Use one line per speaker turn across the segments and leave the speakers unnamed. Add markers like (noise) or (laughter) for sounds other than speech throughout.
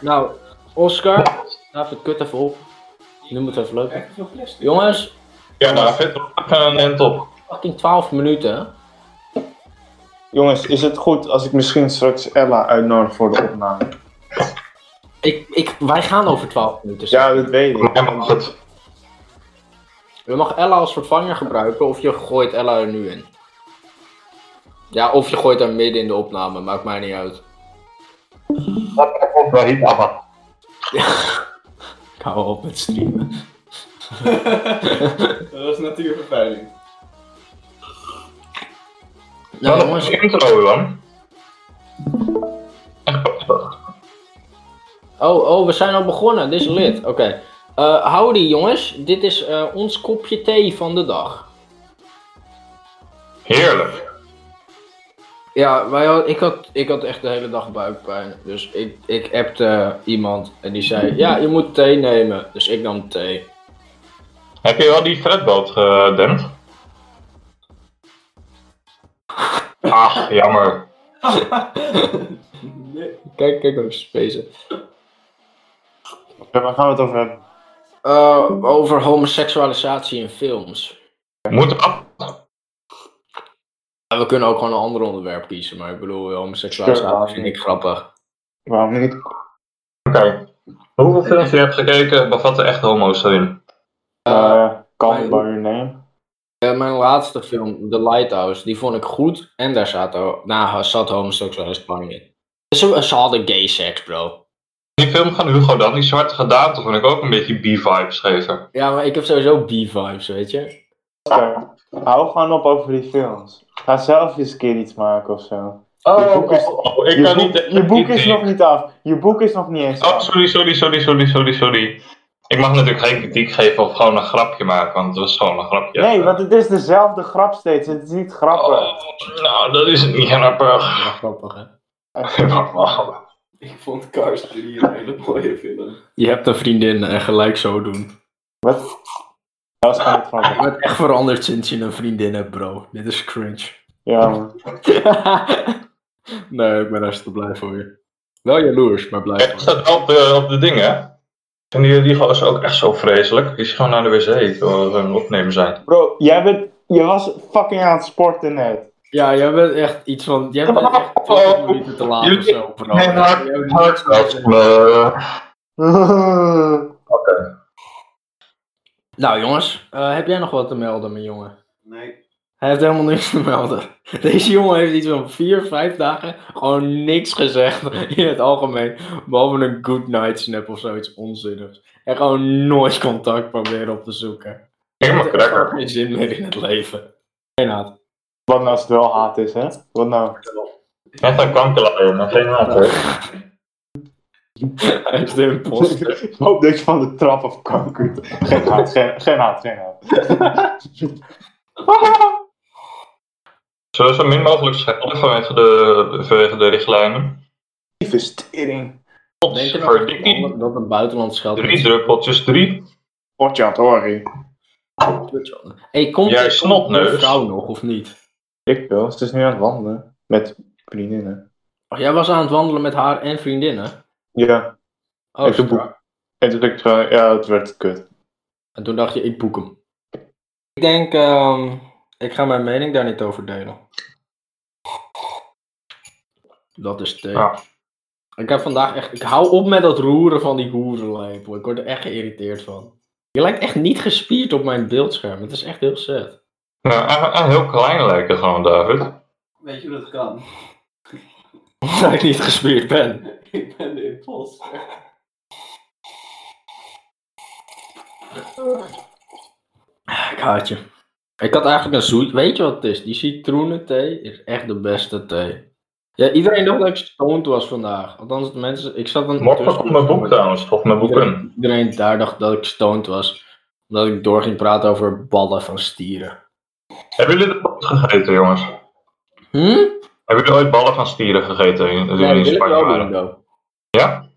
Nou, Oscar, David, kut even op. Nu moet het even lopen. Jongens,
Ja, David, we gaan een end eh, op.
fucking 12 minuten. hè?
Jongens, is het goed als ik misschien straks Ella uitnodig voor de opname?
Ik, ik, wij gaan over 12 minuten.
Ja, dat weet ik.
Jij mag het.
Je mag Ella als vervanger gebruiken of je gooit Ella er nu in. Ja, of je gooit haar midden in de opname, maakt mij niet uit.
Dat komt wel iets af.
Ik hou op met streamen.
Dat was natuurvervuiling.
Nou
dat is
jongens,
de intro, Johan. Echt prachtig.
oh, oh, we zijn al begonnen, dit is lid. Oké. Eh, howdy jongens, dit is eh, ons kopje thee van de dag.
Heerlijk.
Ja, wij had, ik, had, ik had echt de hele dag buikpijn. Dus ik, ik appte eh, iemand en die zei, ja, je moet thee nemen. Dus ik nam thee.
Heb je wel die fretboot gedempt? Ah, jammer.
Nee.
Kijk, kijk hoe ze bezig.
Ja, waar gaan we het over hebben?
Eh, over homoseksualisatie in films.
Moet af.
Ja, we kunnen ook gewoon een ander onderwerp kiezen, maar ik bedoel, homoseksualiteit
Sure.
vind ik grappig.
Waarom
Eh,
niet?
Oké. Hoeveel films je hebt gekeken bevatten echt homo's erin?
Eh,
Eh call me by your name.
eh, mijn laatste film, The Lighthouse, die vond ik goed en daar zat, ho- nou, zat homoseksualiteit in. Ze, ze hadden gay seks, bro.
Die film van Hugo Dan, die zwarte gedaante, vond ik ook een beetje B-vibes geven.
Ja, maar ik heb sowieso B-vibes, weet je.
Oscar, hou gewoon op over die films. Ga zelf eens een keer iets maken of zo. Je
Oh.
boek is-
ik
Je
kan
boek,
niet...
je boek is
niet-
nog niet af. Je boek is nog niet eens
Oh,
af.
sorry, sorry, sorry, sorry, sorry, sorry. Ik mag natuurlijk geen kritiek geven of gewoon een grapje maken, want het was gewoon een grapje.
Nee, want het is dezelfde grap steeds. Het is niet grappig.
Oh, nou, dat is niet grappig. (laughs)
Ja, grappig, hè.
Ik vond Cars 3 een hele mooie film.
Je hebt een vriendin en gelijk zo doen.
Wat? Dat is gewoon niet grappig.
Je bent echt veranderd sinds je een vriendin hebt, bro. Dit is (laughs) cringe.
Ja, man.
nee, ik ben hartstikke blij voor je. Wel jaloers, maar blij
Het
voor je.
staat op de, op de dingen. Vinden jullie die gozer ook echt zo vreselijk? Die is gewoon naar de wc terwijl we aan het opnemen zijn.
Bro, jij bent... Je was fucking aan het sporten net.
Ja, jij bent echt iets van... Jij bent echt 20 minuten te laat of zo, bro.
Nee, maar-
Jij bent niks meer.
Eh,
Nou jongens, eh, heb jij nog wat te melden, mijn jongen?
Nee.
Hij heeft helemaal niks te melden. (laughs) Deze jongen heeft iets van vier, vijf dagen gewoon niks gezegd (laughs) in het algemeen. Behalve een good night snap of zoiets onzinnigs. En gewoon nooit contact proberen op te zoeken.
Helemaal
Hij heeft
cracker.
gewoon geen zin meer in het leven. Geen haat.
Wat nou als het wel haat is, hè? Wat nou?
Net een kankerlaar, maar geen later.
Hij is de
(laughs)
imposter.
Ik hoop dat je van de trap af kan kutten. Geen haat, geen, geen haat, geen haat.
Zullen we zo min mogelijk schrijven vanwege de, vanwege de richtlijnen?
Investering.
Denk je
Potverdikkie.
nou dat een buitenlands geld
Drie druppeltjes, drie.
Potje aan het horen.
Hey, komt
Jij
komt
snotneus.
de vrouw nog of niet?
Ik wil. Ze is nu aan het wandelen. Met vriendinnen.
Oh, jij was aan het wandelen met haar en vriendinnen.
Ja.
Oh,
Ik doe
strak.
En toen dacht ik van, ja, het werd kut.
en toen dacht je, ik boek hem. Ik denk, ehm, ik ga mijn mening daar niet over delen. Dat is thee.
Ja.
Ik heb vandaag echt, ik hou op met dat roeren van die hoerenlepel. Ik word er echt geïrriteerd van. Je lijkt echt niet gespierd op mijn beeldscherm. Het is echt heel sad.
Nou, en, en heel klein lijken gewoon, David.
Weet je hoe dat kan?
Omdat ik niet gespierd ben.
Ik ben de imposter.
Ik haat je. Ah, Ik had eigenlijk een zoet. Weet je wat het is? Die citroenenthee is echt de beste thee. Ja, iedereen dacht dat ik stoned was vandaag. Althans, de mensen. Ik zat een.
Morgen komt mijn boek trouwens, of mijn boeken.
Iedereen, iedereen daar dacht dat ik stoned was. Omdat ik door ging praten over ballen van stieren.
Hebben jullie de pot gegeten, jongens?
Hm?
Hebben jullie ooit ballen van stieren gegeten in, toen
Ja,
jullie
dat
in
wil ik
Spanje
wel doen,
waren?
though.
Ja?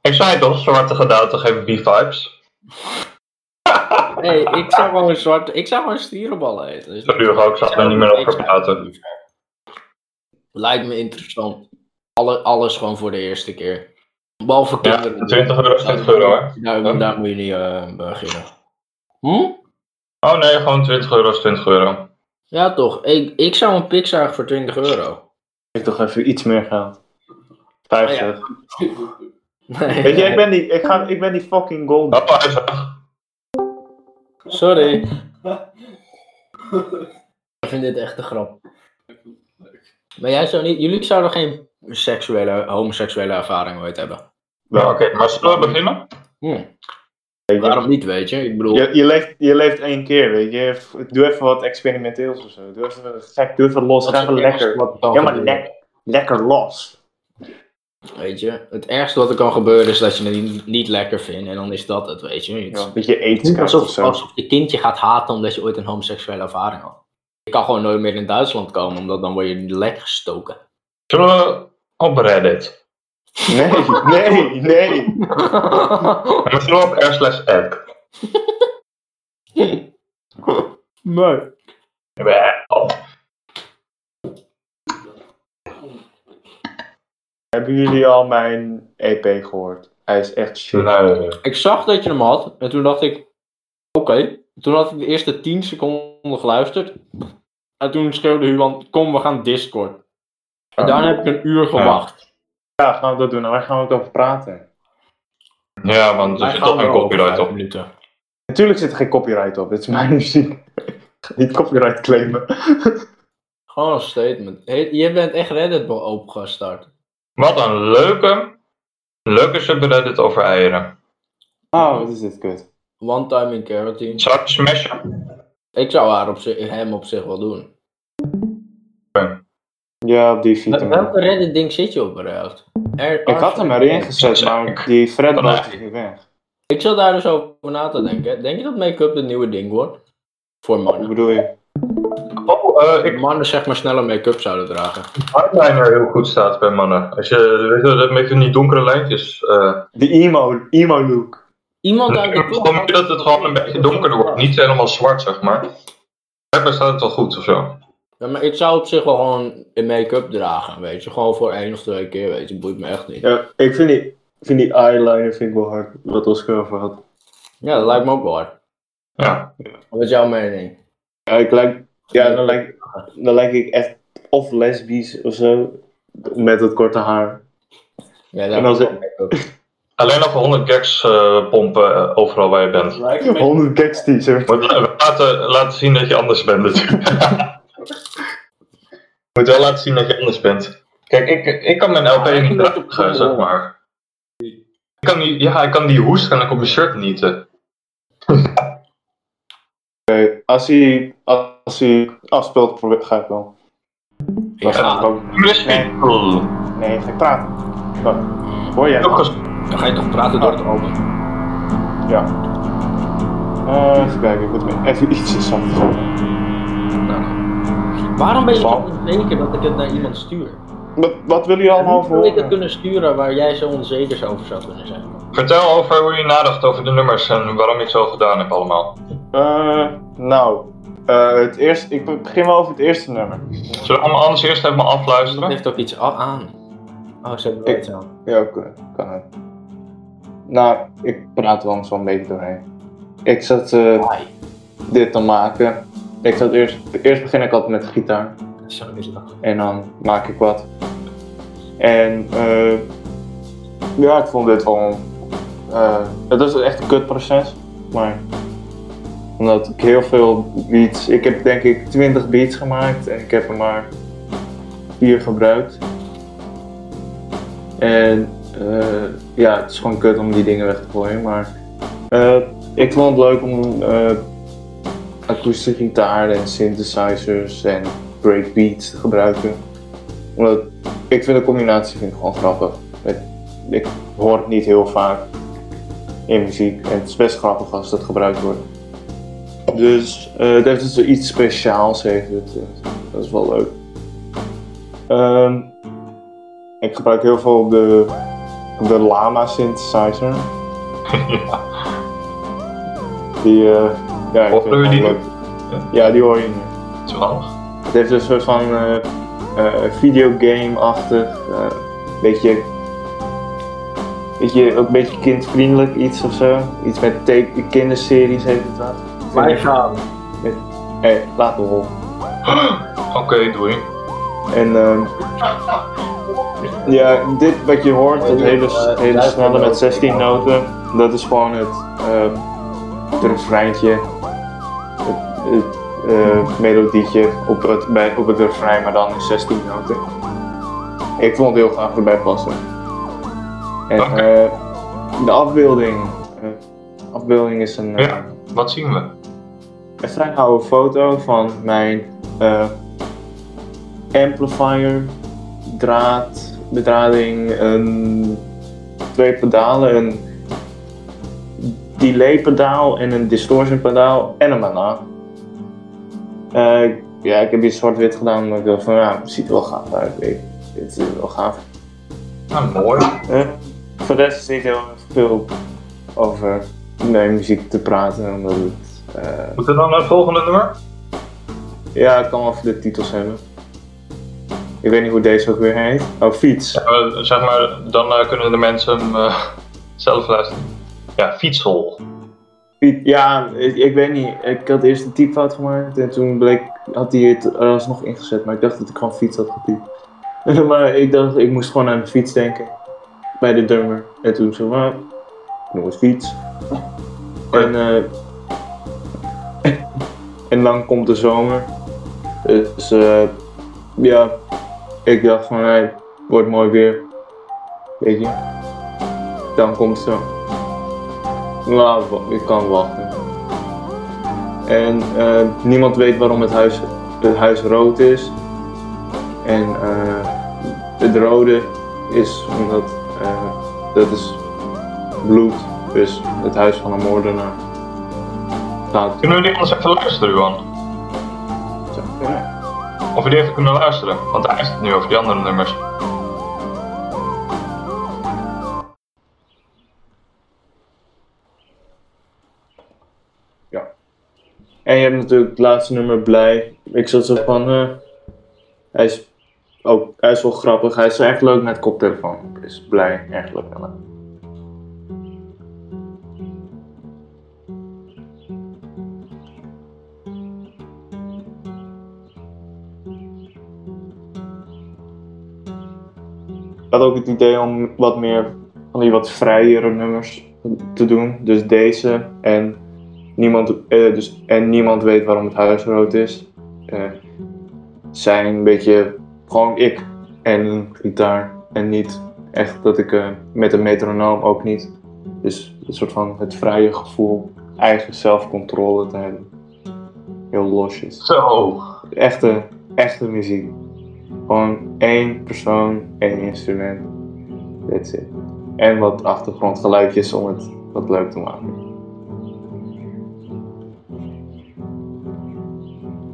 Ik zei toch, zwarte gedaante geven B-vibes.
Nee, ik zou gewoon zwarte. Ik zou gewoon stierenballen eten. Dus
Sorry, Hugo, ik zal er niet meer over praten.
Lijkt me interessant. Alle, alles gewoon voor de eerste keer. Behalve
Ja,
kinderen.
20 euro is 20 euro, hè?
Nou, daar moet je niet eh, beginnen. Hm?
Oh nee, gewoon 20 euro is 20 euro.
Ja, toch. Ik, ik zou een pik zagen voor 20 euro. (laughs)
Ik toch even iets meer geld. 50.
Ah, Nee.
Weet je, ik ben die, ik ga, ik ben die fucking gold.
Oh, hij is weg.
Sorry. ik vind dit echt een grap. Maar jij zou niet, jullie zouden geen seksuele, homoseksuele ervaring ooit hebben.
Ja, Oké, maar zullen we beginnen?
Hm.
Weet je,
Waarom niet, weet je? Ik bedoel,
je, je leeft, je leeft één keer, weet je. Doe even wat experimenteels of zo. Doe even gek, doe even los,
dat
ga
is
even
het ergste
lekker.
wat er kan
Ja, maar
gebeuren,
lekker, lekker los.
Weet je, het ergste wat er kan gebeuren is dat je het niet, niet lekker vindt. En dan is dat het, weet je. Het
Ja,
is
een beetje
niet
eten of
alsof,
zo.
alsof je kindje gaat haten omdat je ooit een homoseksuele ervaring had. Je kan gewoon nooit meer in Duitsland komen, omdat dan word je niet lekker
(laughs)
gestoken.
Zullen we op Reddit?
Nee, nee, nee.
En we zullen we op r slash app?
Nee.
Oh,
Hebben jullie al mijn EP gehoord? Hij is echt shit.
nee.
Ik zag dat je hem had en toen dacht ik, oké. Toen had ik de eerste 10 seconden geluisterd. En toen schreeuwde Huan, kom we gaan Discord. En daarna heb ik een uur gewacht.
Ja, gaan we dat doen. Nou, Waar gaan we het over praten?
Ja, want er
Wij
zit
gaan
toch geen
erover
copyright
vijf
op.
minuten.
Natuurlijk zit er geen copyright op. Dit is mijn muziek. Ik ga Niet copyright claimen.
Gewoon een statement. Hey, je bent echt Reddit opgestart.
Wat een leuke, leuke subreddit over eieren.
Oh, wat is dit kut.
One time in quarantine.
Zou ik je smashen?
Ik zou haar op zich, hem op zich wel doen.
Ja, op die fiets.
Welke Reddit ding zit je op überhaupt? Er-
Ik had hem erin gezet, maar die Fred
Vandaag.
is nu weg.
Ik zat daar dus over na te denken. Denk je dat make-up het nieuwe ding wordt? Voor
Wat
mannen.
bedoel je?
Oh, eh, ik
Mannen zeg maar sneller make-up zouden dragen.
eyeliner heel goed staat bij mannen. Als je, weet je, wel, dat met van die donkere lijntjes. eh
De emo, emo look.
Iemand uit
(laughs)
de
gewoon meer dat het gewoon een beetje donkerder wordt. Niet helemaal zwart, zeg maar. Blijkbaar staat het wel goed of zo.
Ja, maar ik zou op zich wel gewoon een make-up dragen, weet je. Gewoon voor één of twee keer, weet je. Boeit me echt niet.
Ja, ik vind die, ik vind die eyeliner vind ik wel hard. Wat Oscar over had.
Ja, dat lijkt me ook wel hard.
Ja.
Wat is jouw mening?
Ja, ik lijk, ja dan, lijk, dan lijk ik echt of lesbisch of zo. Met dat korte haar.
Ja,
En als
lijkt
ik-
me wel make-up.
Alleen nog 100 gags eh, pompen eh, overal waar je bent.
Lijkt
(laughs)
een beetje
100 gags teaser.
Moet la- laten, laten zien dat je anders bent natuurlijk. (laughs) Moet wel laten zien dat je anders bent. Kijk, ik, ik kan mijn LP
Ah, ik
niet
vind dat ook
dragen,
cool,
zeg
hoor.
maar. Ik kan die, ja, ik kan die hoest kan ik op mijn shirt nieten.
Als hij, als hij afspeelt, pro- ga ik wel.
Ik ga.
Crispy. Oh,
Nee, ga ik praten. Wacht, Hoor jij? nou?
Ook ges-
Dan ga je toch praten door het album.
Ja. Eh, even kijken, ik moet me even ietsje zachter zetten.
Waarom ben je
Paul?
zo onzeker dat ik het naar iemand stuur?
Wat, wat willen jullie allemaal voor
Hoe ik het
horen?
kunnen sturen waar jij zo onzeker over zou kunnen zijn?
Vertel over hoe je nadacht over de nummers en waarom je het zo gedaan hebt allemaal.
Eh, nou, eh, het eerste, ik begin wel over het eerste nummer.
Zullen we allemaal anders eerst even
Dat
afluisteren?
heeft ook iets a- aan. Oh, ze hebben wel iets aan.
Ja, oké, kan het. Nou, ik praat er anders wel een beetje doorheen. Ik zat eh,
Hi.
dit te maken. Ik zat eerst, eerst begin ik altijd met gitaar.
Zo is dat.
En dan maak ik wat. En eh, ja, ik vond dit wel. eh, het is echt een kutproces. Maar omdat ik heel veel beats. Ik heb denk ik 20 beats gemaakt en ik heb er maar vier gebruikt. En eh, ja, het is gewoon kut om die dingen weg te gooien. Maar eh, ik vond het leuk om eh akoestische gitaar en synthesizers en breakbeats te gebruiken. Omdat ik vind de combinatie vind ik gewoon grappig. Ik, ik hoor het niet heel vaak in muziek en het is best grappig als dat gebruikt wordt. Dus eh, het heeft dus iets speciaals. Heeft het. Dus Dat is wel leuk. Ehm, ik gebruik heel veel de, de
(laughs)
Lama synthesizer. Die, eh, ja, ik
Of
vind het
wil je die
gewoon leuk. Ja, die hoor je niet.
Toevallig.
Het heeft een soort van eh, eh, videogame-achtig, eh, beetje Weet je, ook een beetje kindvriendelijk iets of zo. Iets met teken- kinderseries heeft het wat.
Wij gaan.
Hé, laat me rol.
Oké, doei.
En ehm ja, dit wat je hoort, dat hele, hele snelle met 16 noten, dat is gewoon het, ehm het refreintje, het, het eh, melodietje op het, bij, op het refrein, maar dan in 16 noten. Ik vond het heel graag erbij passen. En
Oké.
eh, de afbeelding, eh, afbeelding is een... eh,
Ja. Wat zien we?
een vrij oude foto van mijn eh, amplifier, draad, bedrading, een, twee pedalen, een delay pedaal en een distortion pedaal en een banaan. Eh, ja, ik heb hier zwart-wit gedaan omdat ik dacht van ja, het ziet er wel gaaf uit. Ik, het is wel gaaf.
Nou, mooi.
Eh, voor de rest is niet heel erg veel over nee, muziek te praten omdat het... eh,
Moeten we dan naar het volgende nummer?
Ja, ik kan wel even de titels hebben. Ik weet niet hoe deze ook weer heet. Oh, fiets.
Eh, zeg maar, dan eh, kunnen de mensen hem, eh, zelf luisteren. Ja, fietshol.
Fiet- Ja, ik, ik weet niet. Ik had eerst een typfout gemaakt en toen bleek, had hij het er alsnog ingezet. Maar ik dacht dat ik gewoon fiets had getypt. (laughs) maar ik dacht, ik moest gewoon aan de fiets denken. Bij de drummer. En toen zo, maar, noem het fiets. En, eh, en dan komt de zomer. Dus eh, ja, ik dacht van, hey, het wordt mooi weer. Weet je. Dan komt zo. Nou, wa- ik kan wachten. En eh, niemand weet waarom het huis, het huis rood is. En eh, het rode is omdat eh, dat is bloed, dus het huis van een moordenaar. Staat.
Kunnen we die anders even luisteren, Johan? Of we die even kunnen luisteren? Want daar is het nu over die andere nummers.
En je hebt natuurlijk het laatste nummer blij. Ik zat zo van, eh, hij, is ook, hij is wel grappig. Hij is echt leuk met koptelefoon. Is blij, echt leuk. Ik had ook het idee om wat meer van die wat vrijere nummers te doen. Dus deze en Niemand, eh, dus, en niemand weet waarom het huis rood is. Eh, zijn een beetje gewoon ik en een gitaar. En niet echt dat ik eh, met een metronoom ook niet. Dus een soort van het vrije gevoel, eigen zelfcontrole te hebben. Heel losjes.
Zo.
Echte, echte muziek. Gewoon één persoon, één instrument. That's it. En wat achtergrondgeluidjes om het wat leuk te maken.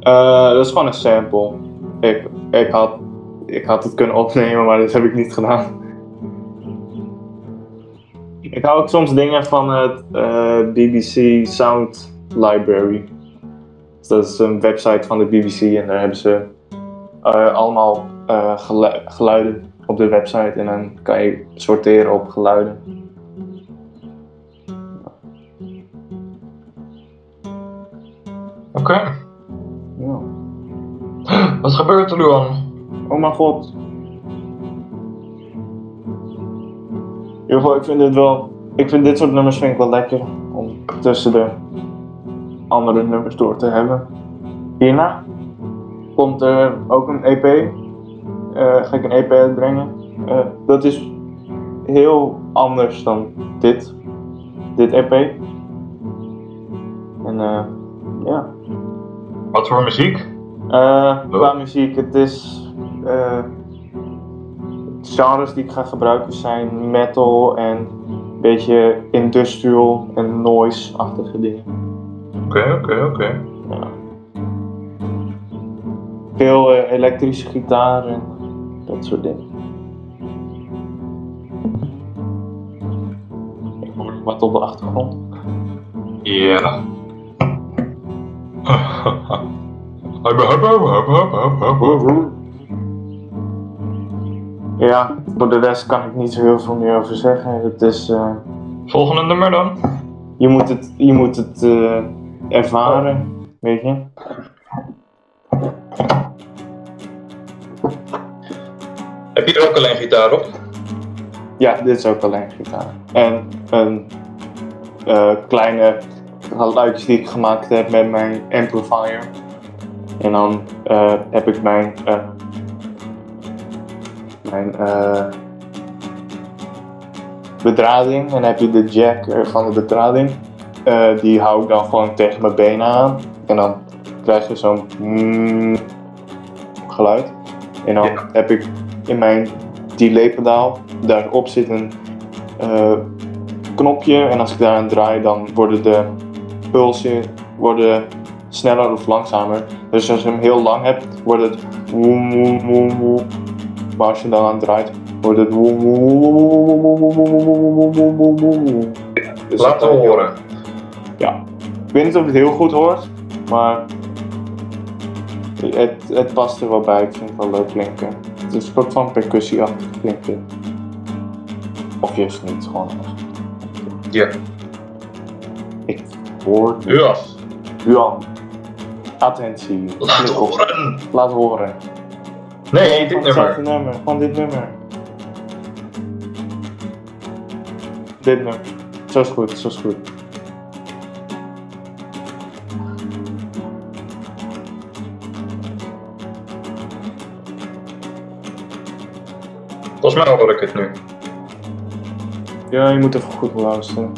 Eh, dat is gewoon een sample. Ik, ik, had, ik had het kunnen opnemen, maar dat heb ik niet gedaan. Ik hou ook soms dingen van het eh, BBC Sound Library. Dus dat is een website van de BBC en daar hebben ze eh, allemaal eh, gelu- geluiden op de website en dan kan je sorteren op geluiden.
Oké.
Ja.
Wat gebeurt er, Luan?
Oh mijn god. In ieder geval, ik vind dit wel. Ik vind dit soort nummers vind ik wel lekker. Om tussen de andere nummers door te hebben. Hierna komt er ook een EP. Eh, ga ik een EP uitbrengen. Eh, dat is heel anders dan dit. Dit EP. En eh. ja.
Wat voor muziek?
Eh, qua
Oh.
muziek, het is. eh, genres die ik ga gebruiken zijn metal en een beetje industrial en noise-achtige dingen.
Oké, oké, oké.
Ja. Veel eh, elektrische gitaar en dat soort dingen. Ik hoor wat op de achtergrond.
Ja. (laughs) Hup, hup, hup, hup, hup, hup, hup, hup.
Ja, voor de rest kan ik niet zo heel veel meer over zeggen. Het is, eh,
Volgende nummer dan?
je moet het, je moet het eh, ervaren, weet je.
Heb je er ook alleen gitaar op?
Ja, dit is ook alleen gitaar. En een eh, kleine geluidjes die ik gemaakt heb met mijn amplifier. En dan eh, heb ik mijn. eh, mijn. eh, bedrading. En heb je de jack eh, van de bedrading. Eh, die hou ik dan gewoon tegen mijn benen aan. En dan krijg je zo'n. mm geluid. En dan
Ja.
heb ik in mijn delay-pedaal. Daarop zit een eh, knopje en als ik daar aan draai, dan worden de pulsen worden sneller of langzamer. Dus als je hem heel lang hebt, wordt het woem woem woem woem. Maar als je dan aan draait, wordt het woem woem woem woem woem woem woem woem woem woem woem woem woem. Dus
Laat
dat-
wel horen.
Ik weet niet of het heel goed hoort, maar het, het past er wel bij. Ik vind het wel leuk klinken. Het is een soort van percussieachtig klinken. Of juist niet, gewoon.
Ja.
Ik hoor nu.
Ja,
Juan. Attentie.
laat
Klik op.
horen.
Laat horen.
Nee, dit
Hetzelfde
nummer.
nummer. Van dit nummer. Dit nummer. Zo is goed, zo is goed.
Volgens mij hoor ik het nu.
Ja, je moet even goed luisteren.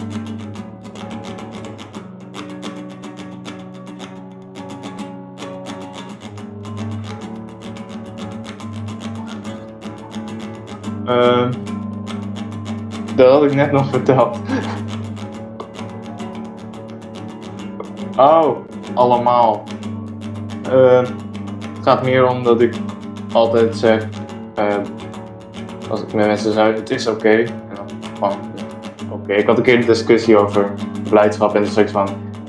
Ehm, dat had ik net nog verteld. (laughs) Oh, allemaal. Ehm, het gaat meer om dat ik altijd zeg, ehm, als ik met mensen zei, het is oké. En dan van, oké, ik had een keer een discussie over blijdschap en toen zei ik van,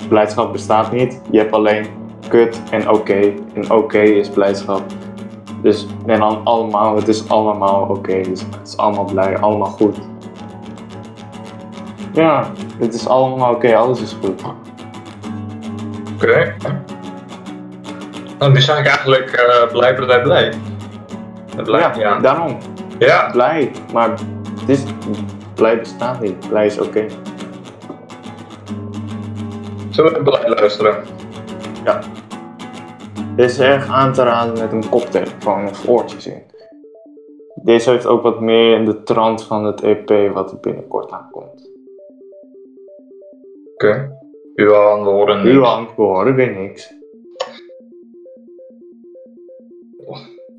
blijdschap bestaat niet. Je hebt alleen kut en oké. En oké is blijdschap. Dus, en dan allemaal, het is allemaal oké. Dus het is allemaal blij, allemaal goed. Ja, het is allemaal oké, alles is goed.
Oké. Nou, nu zag ik eigenlijk eh blij, blij, blij. Dat blijft niet aan.
daarom.
Ja,
Blij, maar het is, blij bestaat niet. Blij is oké.
zullen we blij luisteren?
Dit is erg aan te raden met een koptelefoon of oortjes in. Deze heeft ook wat meer in de trant van het EP wat er binnenkort aankomt.
Oké. Johan, we horen niks.
Nu lang, we horen weer niks.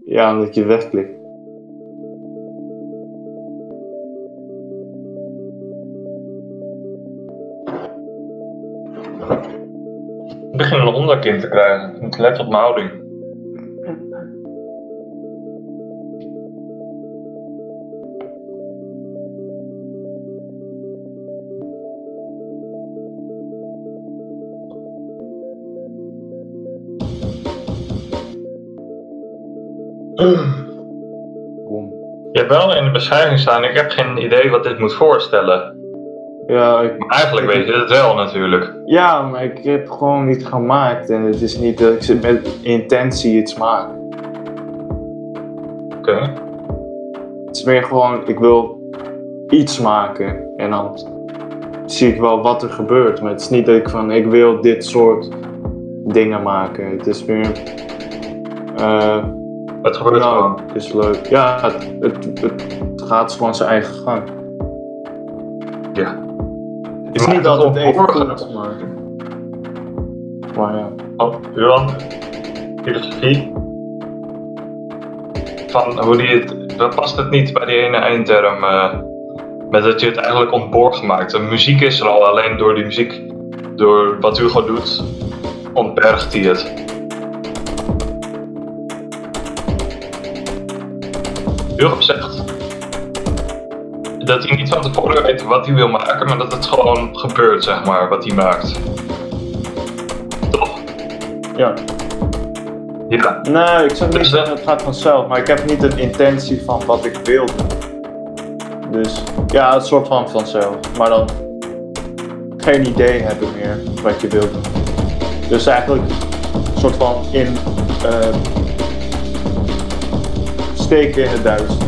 Ja, omdat je wegklikt.
Ik begin een onderkin te krijgen. Ik moet letten op mijn houding.
Boom.
Je hebt wel in de beschrijving staan, ik heb geen idee wat dit moet voorstellen.
Ja, ik,
Maar eigenlijk weet je het wel natuurlijk.
ja, maar ik heb gewoon niet gemaakt en het is niet dat ik ze met intentie iets maak.
Oké.
Het is meer gewoon, ik wil iets maken en dan zie ik wel wat er gebeurt. Maar het is niet dat ik van, ik wil dit soort dingen maken. Het is meer, eh,
Het gebeurt
nou,
gewoon.
het is leuk. Ja, het, het, het gaat gewoon zijn eigen gang.
Ja.
Het is niet altijd even goed, maar... Maar ja,
Oh, Johan, filosofie. Van hoe die het. Dan past het niet bij die ene eindterm. eh, met dat je het eigenlijk ontborgen maakt. De muziek is er al, alleen door die muziek. Door wat Hugo doet, ontbergt hij het. Hugo zegt. Dat hij niet van tevoren weet wat hij wil maken, maar dat het gewoon gebeurt, zeg maar, wat hij maakt. Toch?
ja.
Ja,
Nou, ik zou niet
Dus dat-
zeggen, het gaat vanzelf, maar ik heb niet een intentie van wat ik wil doen. Dus ja, het soort van vanzelf, maar dan geen idee hebben meer wat je wilt doen. Dus eigenlijk een soort van in eh, steken in het duister.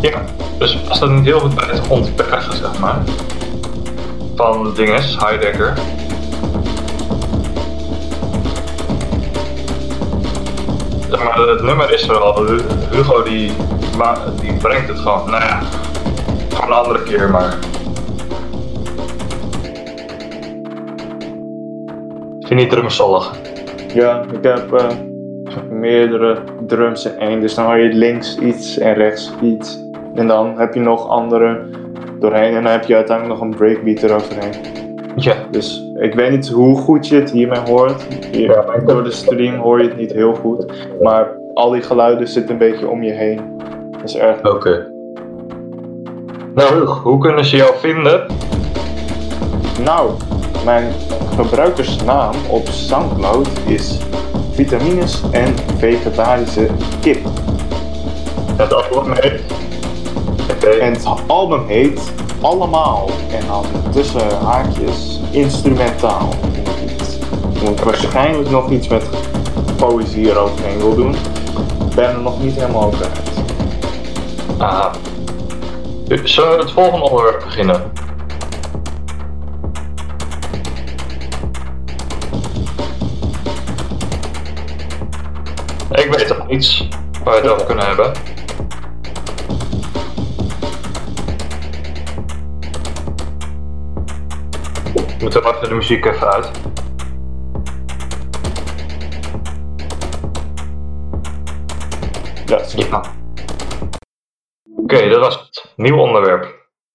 ja. Dus past dat niet heel goed bij het ontbergen, zeg maar. Van dinges, Heidegger. Zeg maar, het nummer is er al. Hu- Hugo die, ma- die brengt het gewoon. Nou ja, gewoon een andere keer maar. Vind je niet drumstallig?
Ja, ik heb eh, meerdere drums in één. Dus dan hoor je links iets en rechts iets. En dan heb je nog andere doorheen. En dan heb je uiteindelijk nog een breakbeat eroverheen.
Ja.
Dus ik weet niet hoe goed je het hiermee hoort. Hier, door de stream hoor je het niet heel goed. Maar al die geluiden zitten een beetje om je heen. Dat is erg.
Oké. Nou, Hugo, hoe kunnen ze jou vinden?
Nou, mijn gebruikersnaam op Soundcloud is vitamines en vegetarische kip.
Het antwoord mee. Oké.
En het album heet Allemaal. En dan tussen haakjes instrumentaal. Omdat ik waarschijnlijk nog iets met poëzie eroverheen wil doen. Ik ben er nog niet helemaal over uit.
Ah. Zullen we het volgende onderwerp beginnen? Ik weet nog iets waar we het over kunnen hebben. We moeten maar even de muziek even uit.
Ja,
Ja. Oké, dat was het. Nieuw onderwerp.